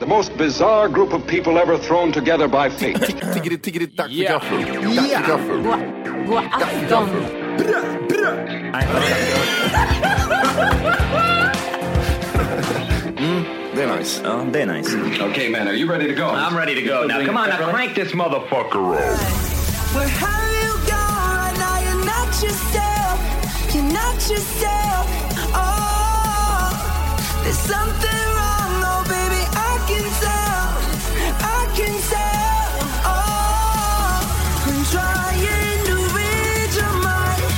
The most bizarre group of people ever thrown together by fate. Tiggeri, tiggeri, dack för gaffel. Dack för gaffel. God afton! Det är nice. Ja, det är nice. okay, man, are you ready to go? I'm ready to go now. Come on, now crank this motherfucker up. Where have you gone? Now you're not yourself. You're not yourself. Oh, there's something wrong, oh baby. I can tell. I can tell. Oh, I'm trying to read your mind,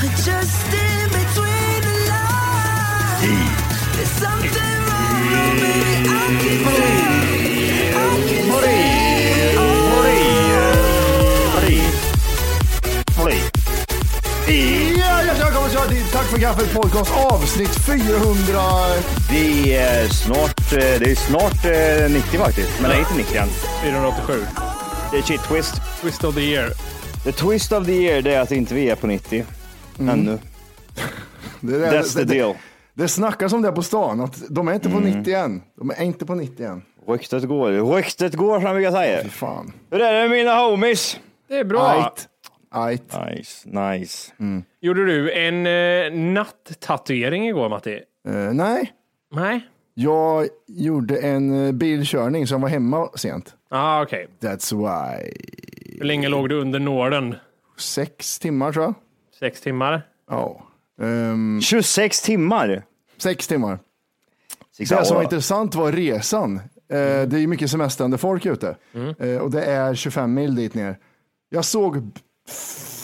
but just in between the lines. There's something wrong, oh baby. I can tell. I can tell. E. Ja, hjärtligt välkommen ska till Tack för gaffel podcast avsnitt 400. Det är snart, eh, det är snart eh, 90 faktiskt, men det är inte 90 än. 487. Det är shit twist. Twist of the year. The twist of the year det är att inte vi är på 90 Mm. ännu. Det, där- That's the det, deal. Mm. Det, det snackas om det på stan, att de är inte på 90 än. De är inte på 90 än. Ryktet går, ryktet går som jag brukar säga. Fy fan. Hur är det med mina homies? Det är bra. Ajt. Ajt. Nice, nice. Gjorde du en eh, natt-tatuering igår, Matti? Eh, nej, Nej. jag gjorde en eh, bilkörning som var hemma sent. Ja, ah, okej. That's why. Hur länge låg du under nålen? Sex timmar tror jag. Sex timmar? Ja. Mm. Ehm, 26 timmar. sex timmar. Six Det som var hour. intressant var resan. Eh, Det är ju mycket semestrande folk ute Eh, och det är 25 mil dit ner. Jag såg b-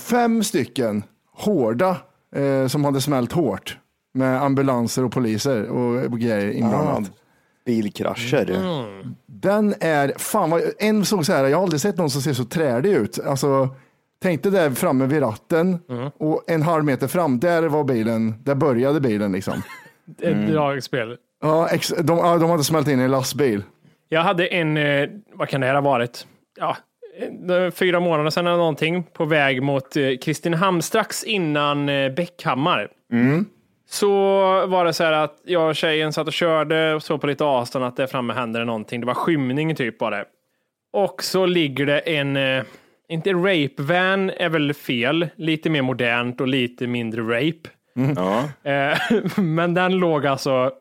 fem stycken hårda eh, som hade smält hårt med ambulanser och poliser och grejer inblandat. Bilkrascher. Den är, fan vad, en såg så här, jag har aldrig sett någon som ser så trädig ut. Alltså, tänkte där framme vid ratten och en halv meter fram, där var bilen, där började bilen liksom. Ett dragspel. Ja, ex, de, ja, de hade smält in i en lastbil. Jag hade en, eh, vad kan det här ha varit? Ja, eh, fyra månader sedan eller någonting, på väg mot eh, Kristinehamn strax innan eh, Bäckhammar. Så var det så här att jag och tjejen satt och körde och såg på lite avstånd att där framme hände det någonting. Det var skymning typ var det. Och så ligger det en, eh, inte rape van är väl fel, lite mer modernt och lite mindre rape. Ja. Eh, Men den låg alltså,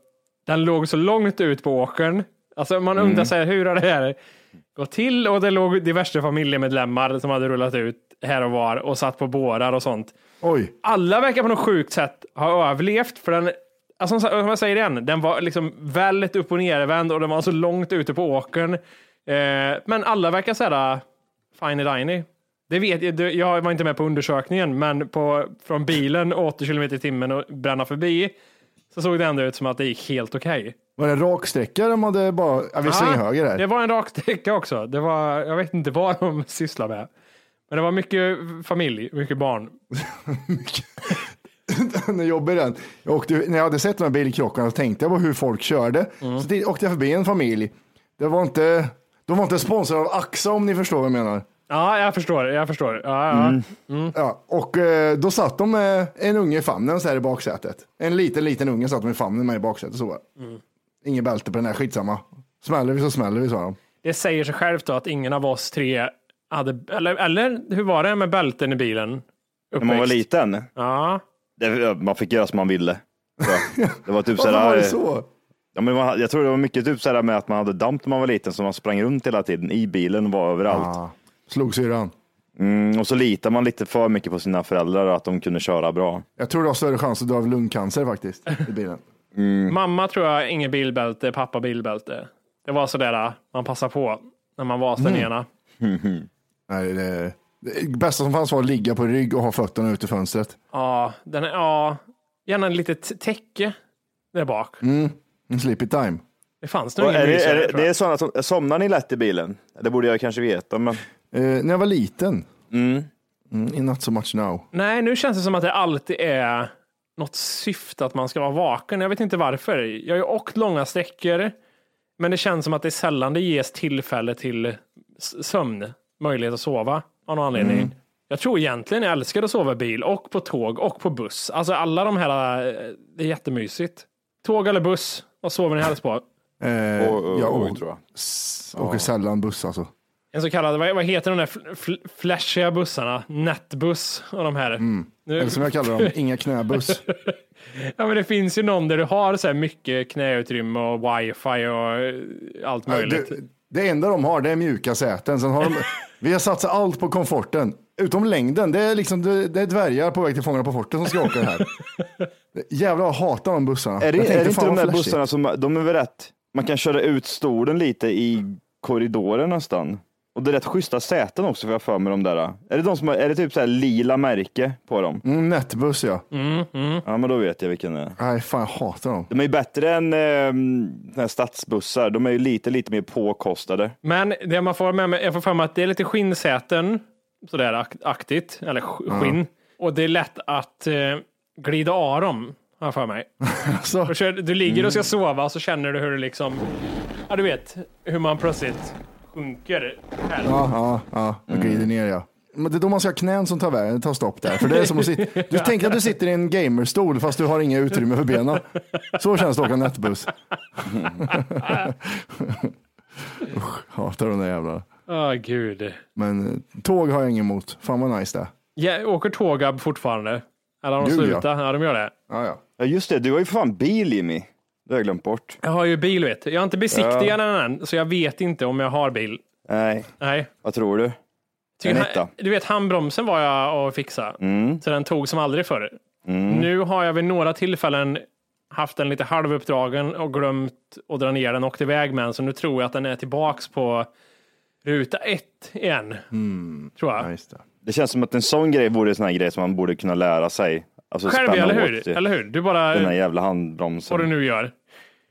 den låg så långt ut på åkern. Alltså man undrar så här, hur har det här gått till? Och det låg diverse familjemedlemmar som hade rullat ut här och var och satt på bårar och sånt. Oj. Alla verkar på något sjukt sätt ha överlevt för den, alltså som jag säger igen, den var liksom väldigt upp och nervänd och den var så långt ute på åkern. Eh, Men alla verkar så här, fine diny. Det vet jag, det- jag var inte med på undersökningen, men på, från bilen 80 kilometer i timmen och bränna förbi så såg det ändå ut som att det gick helt okej. Var det en raksträcka de hade bara, ja, vi svänger Ja, höger Ah, Det här. var en raksträcka också. Det var, jag vet inte vad de sysslar med. Men det var mycket familj, mycket barn. Den är jobbig den. Jag åkte, när jag hade sett de här bilkrockarna så tänkte jag på hur folk körde. Så dit, åkte jag förbi en familj. Det var inte, de var inte sponsrade av AXA om ni förstår vad jag menar. Ja, jag förstår. Jag förstår. Ja, ja. Mm. Ja, och eh, då satt de med en unge i famnen så här i baksätet. En liten, liten unge satt med i famnen med i baksätet. Så. Mm. Ingen bälte på den här, skitsamma. Smäller vi så smäller vi, sa de. Det säger sig självt då att ingen av oss tre hade, eller, eller hur var det med bälten i bilen? När man var Uppväxt. liten. Ja. Det, man fick göra som man ville. tror jag. Det var typ så Varför var här, det så? ja, men det var- Jag tror det var mycket typ så här med att man hade damp när man var liten, så man sprang runt hela tiden i bilen och var överallt. Ah, slog syrran. Mm, och så litar man lite för mycket på sina föräldrar att de kunde köra bra. Jag tror du har större chans att dö av lungcancer faktiskt i bilen. Mm. Mamma tror jag, ingen bilbälte, pappa bilbälte. Det var sådär, äh, man passar på när man var Mm. den ena. Nej, det, det bästa som fanns var att ligga på rygg och ha fötterna ut i fönstret. Ja, den är, ja, gärna ett litet täcke där bak. Mm. En sleepy time. Det fanns nog Är ingen det, är mysare, det, tror det är jag. sådana som, somnar ni lätt i bilen? Det borde jag kanske veta, men Eh, när jag var liten. Mm. Mm, in not so much now. Nej, nu känns det som att det alltid är något syfte att man ska vara vaken. Jag vet inte varför. Jag har ju åkt långa sträckor, men det känns som att det är sällan det ges tillfälle till s- sömn, möjlighet att sova av någon anledning. Mm. Jag tror egentligen jag älskar att sova i bil och på tåg och på buss. Alltså alla de här, eh, det är jättemysigt. Tåg eller buss, vad sover ni helst på? Eh, Oj, oj, jag oj, å- tror jag. s- åker sällan buss alltså. En så kallad, vad, vad heter de där fl- fl- flashiga bussarna? Nätbuss och de här. Nu, Mm. Eller som jag kallar dem, inga knäbuss. Ja, men det finns ju någon där du har så här mycket knäutrymme och wifi och eh, allt möjligt. Det, det enda de har det är mjuka säten. Sen har de, vi har satsat allt på komforten, utom längden. Det är, liksom, det, det är dvärgar på väg till Fångarna på fortet som ska åka här. Jävlar, jag hatar de bussarna. Är det, jag är det inte fan de vad där flashigt. bussarna som, de är väl rätt, man kan köra ut stolen lite i korridoren nästan. Och det är rätt schyssta säten också får jag för mig de där. Är det, de som, har- är det typ så här lila märke på dem? Mm, nätbuss ja. Ja, men då vet jag vilken det är. Nej, fan jag hatar dem. De är ju bättre än eh, här stadsbussar. De är ju lite, lite mer påkostade. Men det man får med mig, jag får för mig att det är lite skinnsäten, sådär ak- aktigt, eller sk- skinn. Och det är lätt att eh, glida av dem, har jag för mig. Alltså, Och så, du ligger och ska sova och så känner du hur du liksom, ja du vet, hur man plötsligt sjunker. Här. ja, ja, ja, jag glider ner ja. Men det är då man ska ha knän som tar, vä- tar stopp där. För det är som att sitta, du tänker att du sitter i en gamerstol fast du har inga utrymme för benen. Så känns det att åka nätbuss. Usch, hatar de där jävlarna. Åh gud. Men eh, tåg har jag ingen emot. Fan vad nice det är. Ja, åker Tågab fortfarande? Eller har de Gud, ja. slutat? Ja. de gör det. Ja, ja. Ja, just det. Du har ju för fan bil Jimmy. Det har jag glömt bort. Jag har ju bil vet du. Jag har inte besiktigat den än, så jag vet inte om jag har bil. Nej, Nej. vad tror du? Tycker En han- etta. Mm. du vet, handbromsen var jag och fixa. Så den tog som aldrig förr. Nu har jag vid några tillfällen haft den lite halvuppdragen och glömt att dra ner den och åkt iväg med den. Så nu tror jag att den är tillbaks på ruta ett igen. Mm. Tror jag. Nice det. Det känns som att en sån grej vore en sån här grej som man borde kunna lära sig. Alltså Själv, spänna eller åt hur? det. eller hur? Du den här bara, jävla vad du handbromsen. nu gör.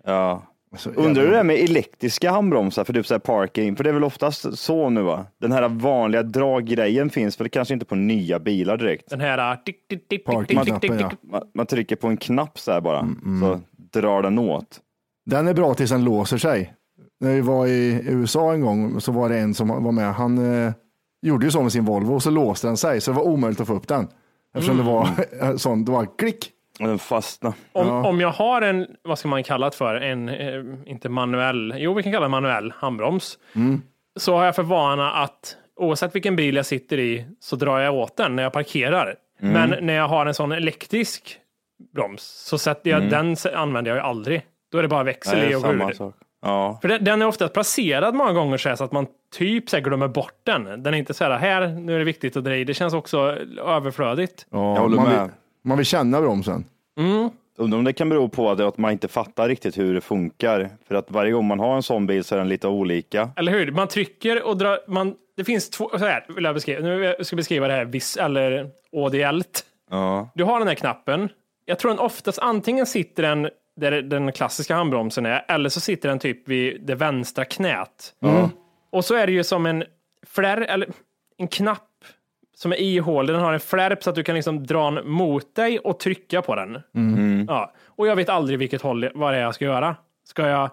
Ja. Alltså, Undrar hur jävlar. det är med elektriska handbromsar för typ så här parking, för det är väl oftast så nu va? Den här vanliga draggrejen finns väl kanske inte på nya bilar direkt. Den här... äh, Tick, tick, tick, tick, tick, tick, tick, Parkknappen, ja. tick. Man, man trycker på en knapp så här bara, Mm, så drar den åt. Den är bra tills den låser sig. När vi var i USA en gång så var det en som var med. Han eh, gjorde ju så med sin Volvo och så låste den sig så det var omöjligt att få upp den. Eftersom det var sånt, det var klick. Och den fastnar. Om, om jag har en, vad ska man kalla det för, en, eh, inte manuell, jo vi kan kalla det manuell handbroms, Mm. så har jag för vana att oavsett vilken bil jag sitter i så drar jag åt den när jag parkerar. Mm. Men när jag har en sån elektrisk broms så sätter jag, den s- använder jag ju aldrig. Då är det bara växel Mm. Nej, i och samma ur. sak. Ja. För den, den är ofta placerad många gånger så, här, så att man typ så här, glömmer bort den. Den är inte så här, här, nu är det viktigt att dra i. Det känns också överflödigt. Ja, Jag håller man, med. Vill, man vill känna bromsen. Undrar om det kan bero på att man inte fattar riktigt hur det funkar. För att varje gång man har en sån bil så är den lite olika. Eller hur? Man trycker och drar... Man, det finns två... Så här vill jag beskriva. Nu ska jag beskriva det här vis, eller ådiellt. Ja. Du har den här knappen. Jag tror den oftast antingen sitter den där den klassiska handbromsen är, eller så sitter den typ vid det vänstra knät. Mm. Och så är det ju som en flärr, eller en knapp som är ihålig. Den har en flärp så att du kan liksom dra den mot dig och trycka på den. Mm. Ja. Och jag vet aldrig vilket håll, vad det är jag ska göra. Ska jag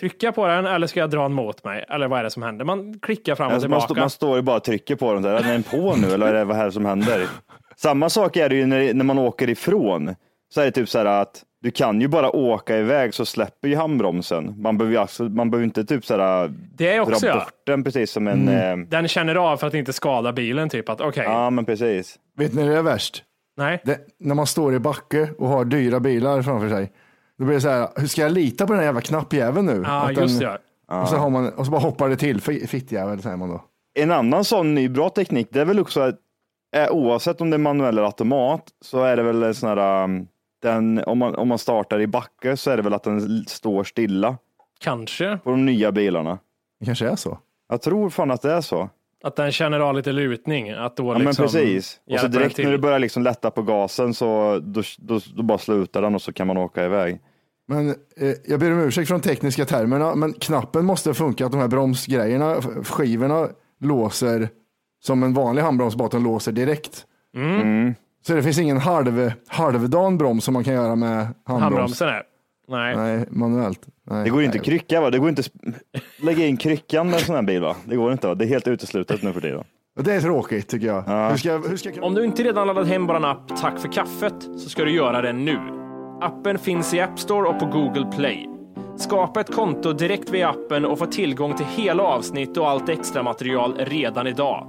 trycka på den eller ska jag dra den mot mig? Eller vad är det som händer? Man klickar fram och Alltså man, tillbaka. stå, man står ju bara och trycker på den där. Är den på nu eller är det vad här som händer? Samma sak är det ju när, när man åker ifrån. Så är det typ så här att du kan ju bara åka iväg så släpper ju handbromsen. Man behöver ju alltså, man behöver inte typ så här det är dra också ja. bort den precis som en... Eh, Den känner av för att inte skada bilen, typ att okej, ja men precis. Vet ni det är värst? Nej. Det, när man står i backe och har dyra bilar framför sig, då blir det så här, hur ska jag lita på den här jävla knappjäveln nu? Ja, Att den- just det. Och så, har man, och så bara hoppar det till, F- fittjävel säger man då. En annan sån ny bra teknik, det är väl också att eh, oavsett om det är manuell eller automat så är det väl en sån här, um, den, om, man, om man startar i backe så är det väl att den l- står stilla Kanske på de nya bilarna. Det kanske är så. Jag tror fan att det är så. att den känner av lite lutning. Att då Ja men liksom precis. Och hjälpa så den direkt till. när du börjar liksom lätta på gasen så då, då, då bara slutar den och så kan man åka iväg. Men eh, jag ber om ursäkt för de tekniska termerna, men knappen måste funka att de här bromsgrejerna, f- skivorna låser som en vanlig handbroms, bara att den låser direkt. Mm. Mm. Så det finns ingen halv, halvdan broms som man kan göra med handbroms. Handbromsen är. Nej. Nej, manuellt. Nej. Det går inte Nej. att krycka va? Det går inte att sp- lägga in kryckan med en sån här bil va? Det går inte va? Det är helt uteslutet nu för tiden. Och Det är tråkigt tycker jag. Hur ska, hur ska jag kunna... Om du inte redan laddat hem vår app Tack för kaffet så ska du göra det nu. Appen finns i App Store och på Google Play. Skapa ett konto direkt via appen och få tillgång till hela avsnitt och allt extra material redan idag.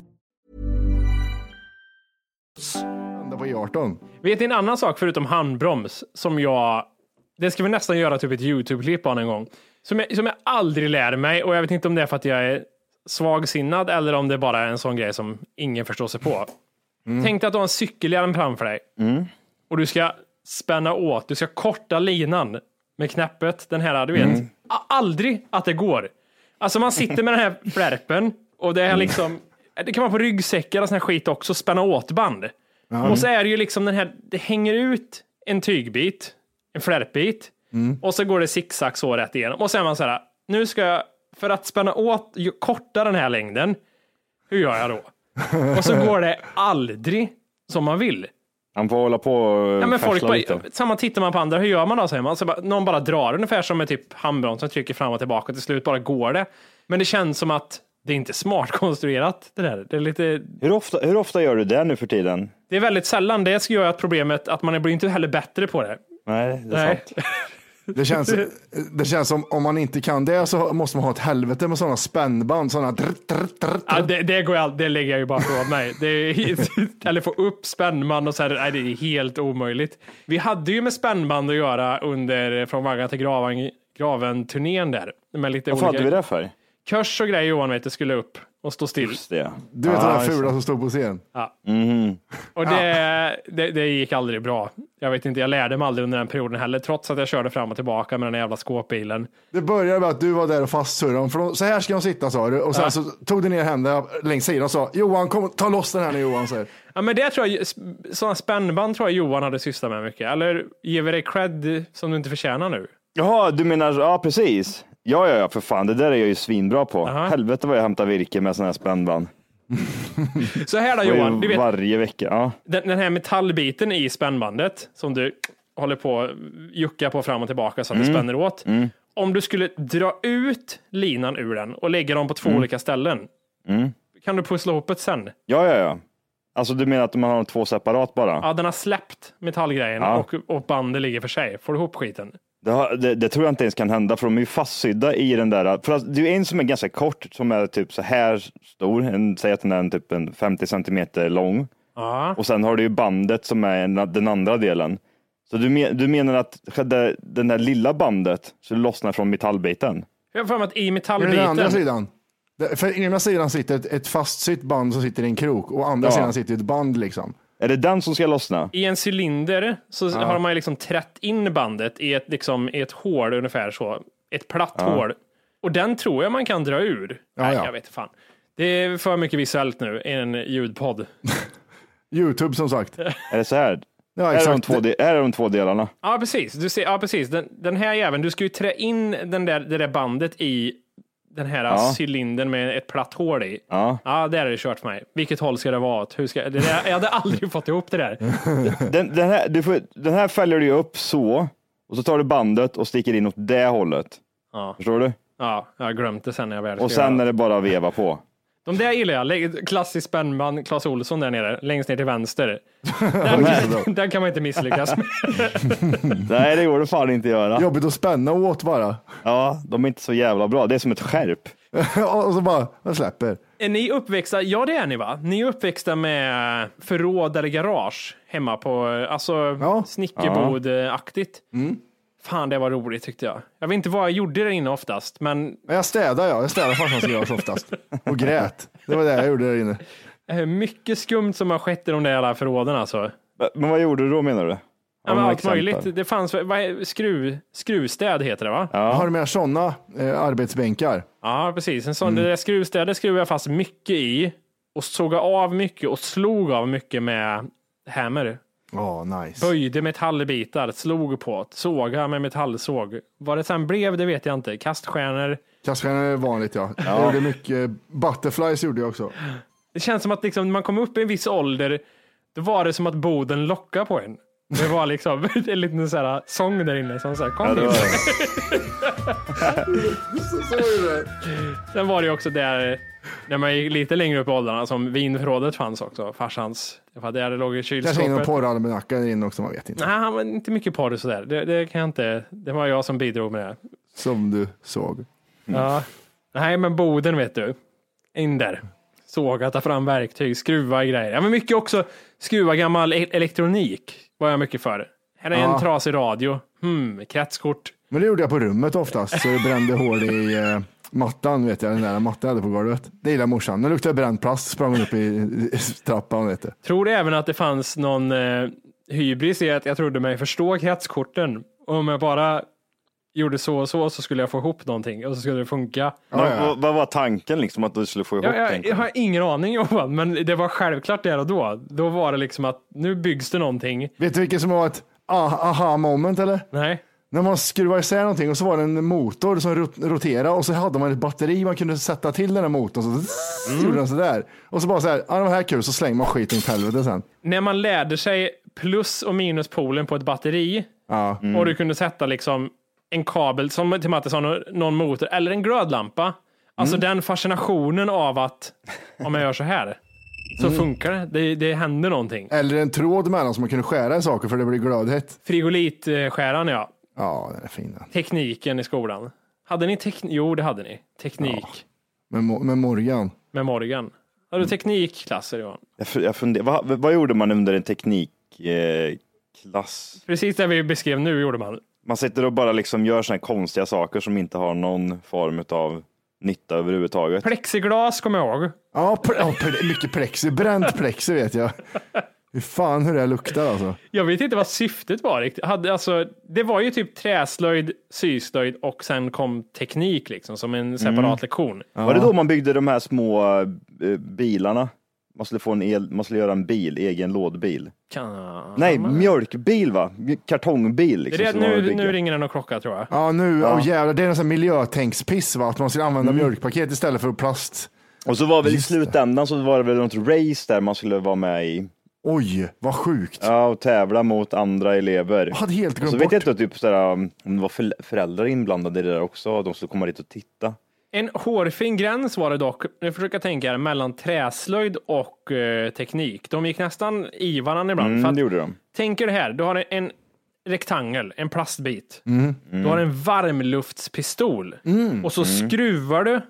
hända på E E18? Vet ni en annan sak förutom handbroms som jag... Det ska vi nästan göra typ ett YouTube-klipp av en gång. Som jag, som jag aldrig lär mig och jag vet inte om det är för att jag är svagsinnad eller om det bara är en sån grej som ingen förstår sig på. Tänk dig att du har en cykelhjälm framför dig och du ska spänna åt, du ska korta linan med knäppet, den här, du vet. A- Aldrig att det går. Alltså man sitter med den här flärpen och det är liksom, det kan vara på ryggsäckar och sån här skit också, spänna åtband. Och så är det ju liksom den här, det hänger ut en tygbit, en flärpbit, och så går det zigzag så rätt igenom. Och så är man så här, nu ska jag, för att spänna åt, ju- korta den här längden, hur gör jag då? Och så går det aldrig som man vill. Han får hålla på och Ja, men folk färsla bara, lite. samma tittar man på andra, hur gör man då? Säger man. Så bara, någon bara drar ungefär som med typ handbroms som trycker fram och tillbaka. Till slut bara går det. Men det känns som att det är inte smart konstruerat det där. Det är, lite, Hur ofta, hur ofta gör du det nu för tiden? det är väldigt sällan det gör att problemet att man blir inte heller bättre på det. Nej, det är Nej. sant. Det känns, det känns som om man inte kan det så måste man ha ett helvete med sådana spännband. Sådana drr, drr, drr, drr. Ja, det, det, går jag, all- det lägger jag ju bara ifrån mig. Det är, helt- eller få upp spännband och så här, nej, det är helt omöjligt. Vi hade ju med spännband att göra under Från vaggan till graven, graven-turnén där. Med lite Varför hade vi olika det för? kurs och grejer Johan vet du skulle upp och stå still. Just det. Du vet den Ja, där just fula det. som stod på scen? Och det, det, det gick aldrig bra. Jag vet inte, jag lärde mig aldrig under den perioden heller, trots att jag körde fram och tillbaka med den jävla skåpbilen. Det började med att du var där och fastsurrade dem. För de- Så här ska de sitta sa du. Och sen Ja. så tog du ner händerna längs sidan och sa Johan, kom, och ta loss den här nu Johan. Så här. Ja, men det tror jag, sådana spännband tror jag Johan hade sysslat med mycket. Eller ger vi dig cred som du inte förtjänar nu? Jaha, du menar, ja precis. Ja, ja, ja, för fan, det där är jag ju svinbra på. Helvete vad jag hämtar virke med såna här spännband. Så här då Det är ju Johan, du vet, Varje vecka. Ja. den, den här metallbiten i spännbandet som du håller på och juckar på fram och tillbaka så att det spänner åt. Om du skulle dra ut linan ur den och lägga dem på två olika ställen, kan du pussla ihop det sen? ja, ja, ja. Alltså du menar att man har de två separat bara? Ja, den har släppt metallgrejen Ja. och, och bandet ligger för sig. Får du ihop skiten? Det, har, det, det tror jag inte ens kan hända, för de är ju fastsydda i den där. För att det är ju en som är ganska kort, som är typ så här stor. En, säg att den är en, typ en 50 centimeter lång. Ja. Och sen har du ju bandet som är en, den andra delen. Så du, men, du menar att det, den där lilla bandet så lossnar från metallbiten? Jag har för mig att i Är det den andra metallbiten, sidan? Det- För ena sidan sitter ett, ett fastsytt band som sitter i en krok och andra Ja. sidan sitter ett band liksom. Är det den som ska lossna? I en cylinder så har man ju liksom trätt in bandet i ett, liksom, i ett hål ungefär så. Ett platt hål. Och den tror jag man kan dra ur. Nej, ja. jag vet fan. Det är för mycket visuellt nu i en ljudpodd. Youtube som sagt. Är det så här? Ja, Här är, de exakt. två de, här är de två delarna. Ja, precis. Du ser, ja, precis. Den, den här jäveln, du ska ju trä in den där, det där bandet i den här cylindern med ett platt hål i. Ja. Ja, där är det kört för mig. Vilket håll ska det vara åt? Hur ska, det där, jag hade aldrig fått ihop det där. Den, den, här, du får, den här fäller du ju upp så, och så tar du bandet och sticker in åt det hållet. Ja. Förstår du? Ja, jag har glömt det sen när jag väl ska Och sen göra är det. det bara att veva på. De där gillar jag. Lägg- Klassisk spännband, Claes Olsson där nere, längst ner till vänster. här. Den, den kan man inte misslyckas med. Nej, det går det fan inte att göra. Jobbigt att spänna åt bara. Ja, de är inte så jävla bra. Det är som ett skärp. och så bara, jag släpper. Är ni uppväxta, ja det är ni va? Ni är uppväxta med förråd eller garage hemma på, alltså Ja. snickerbod-aktigt. Fan, det var roligt tyckte jag. Jag vet inte vad jag gjorde där inne oftast, men Men jag städar ja, jag städar farsans garage oftast. Och grät. Det var det jag gjorde där inne. eh, mycket skumt som har skett i de där jävla förråden alltså. Men vad gjorde du då menar du? Ja, men några allt exempel? möjligt. Det fanns, vad, är- skruv, skruvstäd heter det va? Har du med sådana eh, arbetsbänkar? Ja, precis. En sån, Det där skruvstädet skruvade jag fast mycket i och såg av mycket och slog av mycket med hammer. Ja, nice. Böjde metallbitar, slog på, såga med metallsåg. Vad det sen blev, det vet jag inte. Kaststjärnor. Kaststjärnor är vanligt ja. Jag gjorde mycket, butterflies gjorde jag också. Det känns som att liksom, när man kom upp i en viss ålder, då var det som att boden lockade på en. Det var liksom en liten så här sång där inne som så här, kom Ja, det var in. det. Sen var det ju också där, när man gick lite längre upp i åldrarna, som vinförrådet fanns också. Farsans. Det var där det låg i Kanske in kylskåpet. och porralmanacka där inne också, man vet inte. Nej, han var inte mycket porr och sådär. Det, det kan jag inte. Det var jag som bidrog med det. Som du såg. Ja. Nej, men Boden vet du. In där. Såga, ta fram verktyg, skruva i grejer. Ja, men mycket också skruva gammal e- elektronik var jag mycket för. Här är Ja. en trasig radio. Hmm, kretskort. Men det gjorde jag på rummet oftast, så jag brände hål i eh, mattan, vet jag, den där mattan jag hade på golvet. Det gillade morsan. Nu luktade jag bränd plast, sprang hon upp i, i trappan. Vet du. Tror du även att det fanns någon eh, hybris i att jag trodde mig förstå kretskorten? Om jag bara gjorde så och så så skulle jag få ihop någonting och så skulle det funka. Men vad- Vad var tanken liksom att du skulle få ihop Ja, jag, tänker jag du? har ingen aning Johan, men det var självklart där och då. Då var det liksom att nu byggs det någonting. Vet du vilket som var ett ah- aha moment eller? Nej, När man skruvar isär någonting och så var det en motor som rot- roterade och så hade man ett batteri man kunde sätta till den här motorn. Så zzz, gjorde den sådär. Och så bara så här, ah, det var här kul, så slänger man skiten åt helvete sen. när man lärde sig plus och minuspolen på ett batteri och du kunde sätta liksom en kabel som till Matte sa, nå- någon motor eller en glödlampa. Alltså den fascinationen av att om jag gör så här så funkar det. det. Det händer någonting. Eller en tråd mellan som man kunde skära i saker för det blir glödhett. Frigolitskäran ja, Ja, den är fin den. tekniken i skolan. Hade ni teknik? Jo, det hade ni. Teknik Med, Mo- med Morgan. med Morgan. Hade du teknikklasser Johan? Jag fu- jag funderar, vad, vad gjorde man under en teknikklass? Eh, klass? Precis det vi beskrev nu gjorde man. man sitter och bara liksom gör såna här konstiga saker som inte har någon form av nytta överhuvudtaget. Plexiglas kommer jag ihåg. Ja, pre- ja pre- mycket plexi. Bränt plexi vet jag. Fy fan hur det här luktar alltså. Jag vet inte vad syftet var riktigt. Hade, alltså, det var ju typ träslöjd, syslöjd och sen kom teknik liksom som en separat Mm. lektion. Var det då man byggde de här små eh, bilarna? Man skulle, få en el, man skulle göra en bil, egen lådbil. Kan... Nej, mjölkbil va? Kartongbil. Det är Liksom, det, som man nu, bygger. nu ringer det någon klocka tror jag. Ja, nu, ja. jävlar, det är en sån här miljötänkspiss va, att man ska använda mjölkpaket istället för plast. Och så var väl i Just det. slutändan så var det väl något race där man skulle vara med i. Oj, vad sjukt. Ja, och tävla mot andra elever. Jag hade helt Och så glömt vet bort. jag inte typ, sådär, om det var förl- föräldrar inblandade i det där också, de skulle komma dit och titta. En hårfin gräns var det dock, nu försöker jag tänka här, mellan träslöjd och eh, teknik. De gick nästan i varandra ibland. för Mm, att- det gjorde de. Tänker det här, du har en rektangel, en plastbit. Mm. Du har en varmluftspistol och så Mm. skruvar du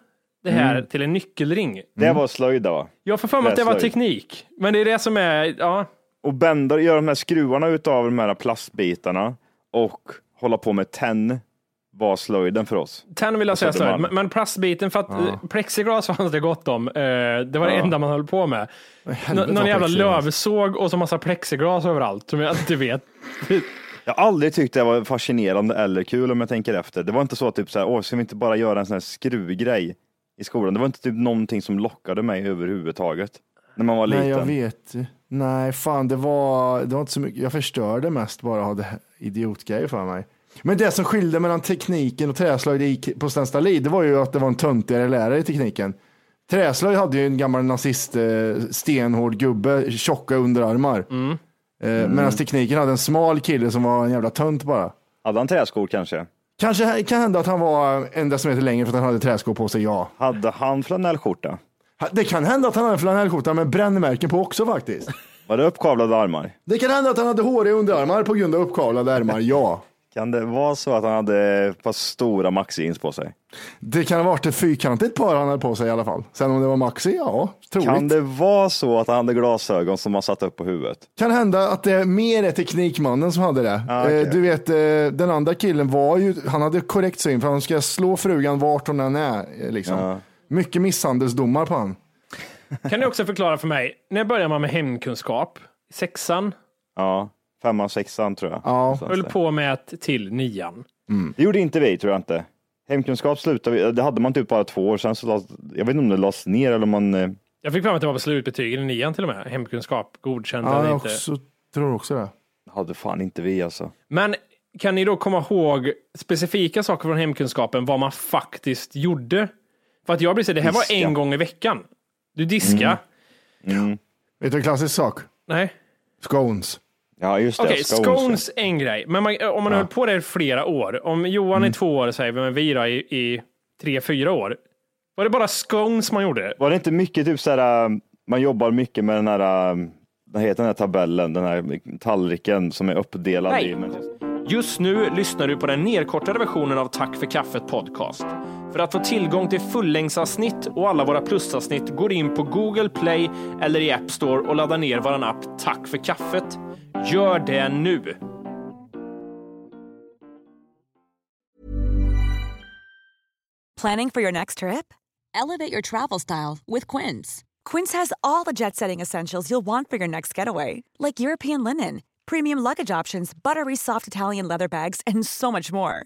det här till en nyckelring. Det var slöjd där, va? Jag får för mig att det var Träslöjd. teknik, men det är det som är, ja, och bända, göra de här skruvarna utav de här plastbitarna och hålla på med tenn var slöjden för oss. Tenn vill jag säga större, Södermalm. men- men plastbiten, för att eh, plexiglas fanns det gott om. Eh, Det var det enda man höll på med. Nå- vad någon jävla plexiglas. lövsåg och så massa plexiglas överallt, som jag inte vet. Jag har aldrig tyckt det var fascinerande eller kul om jag tänker efter. Det var inte så typ så här, åh, ska vi inte bara göra en sån här skruvgrej i skolan? Det var inte typ någonting som lockade mig överhuvudtaget när man var Nej, jag liten. vet. Nej, fan, det var, det var inte så mycket. Jag förstörde mest bara av det här idiotgrejer för mig. Men det som skilde mellan tekniken och träslöjd i- på Stenstallid, det var ju att det var en töntigare lärare i tekniken. Träslöjd hade ju en gammal nazist, eh, stenhård gubbe, tjocka underarmar. Mm. Medan tekniken hade en smal kille som var en jävla tönt bara. Hade han träskor kanske? Kanske kan hända att han var en decimeter längre för att han hade träskor på sig, ja. Hade han flanellskjorta? Det kan hända att han hade en flanellskjorta med brännmärken på också faktiskt. Var det uppkavlade armar? Det kan hända att han hade håriga underarmar på grund av uppkavlade ärmar, ja. Kan det vara så att han hade ett par stora maxi på sig? Det kan ha varit ett fyrkantigt par han hade på sig i alla fall. Sen om det var Maxi, ja, troligt. Kan Kan, det vara så att han hade glasögon som han satte upp på huvudet? hända att det mer är teknikmannen som hade det. Ah, okej. Eh, Du vet, eh, den andra killen var ju, han hade korrekt syn för han ska slå frugan vart hon än är. eh, Liksom. Mycket misshandelsdomar på han. Kan ni också förklara för mig, när börjar man med hemkunskap? Sexan, Ja, femman, sexan tror jag. Ja. höll på med ett till nian. Det gjorde inte vi, tror jag inte. Hemkunskap slutade vi, det hade man typ bara två år sedan, så las, jag vet inte om det lades ner eller om man... eh, Jag fick fram att det var på slutbetygen i nian till och med. Hemkunskap, godkänd Ja, eller jag inte. också, tror också det. hade fan inte vi alltså. Men kan ni då komma ihåg specifika saker från hemkunskapen, vad man faktiskt gjorde? För att jag blir så det här var Diska. en gång i veckan. Du diska. Vet du en klassisk sak? Nej. Scones. Ja, just det. Okej, scones, är en grej. Men man, om man har hållit på det i flera år. Om Johan är två år, säger vi, men vi då i, i tre, fyra år. Var det bara scones man gjorde? Var det inte mycket typ så här, äh, man jobbar mycket med den här, äh, vad heter den här tabellen, den här tallriken som är uppdelad Nej. i... men- Just nu lyssnar du på den nedkortade versionen av Tack för kaffet podcast. För att få tillgång till fullängdsavsnitt och alla våra plusavsnitt går in på Google Play eller i App Store och laddar ner vår app Tack för kaffet. Gör det nu! Planning for your next trip? Elevate your travel style with Quince. Quince has all the jet setting essentials you'll want for your next getaway, like European linen, premium luggage options, buttery soft Italian leather bags, and so much more.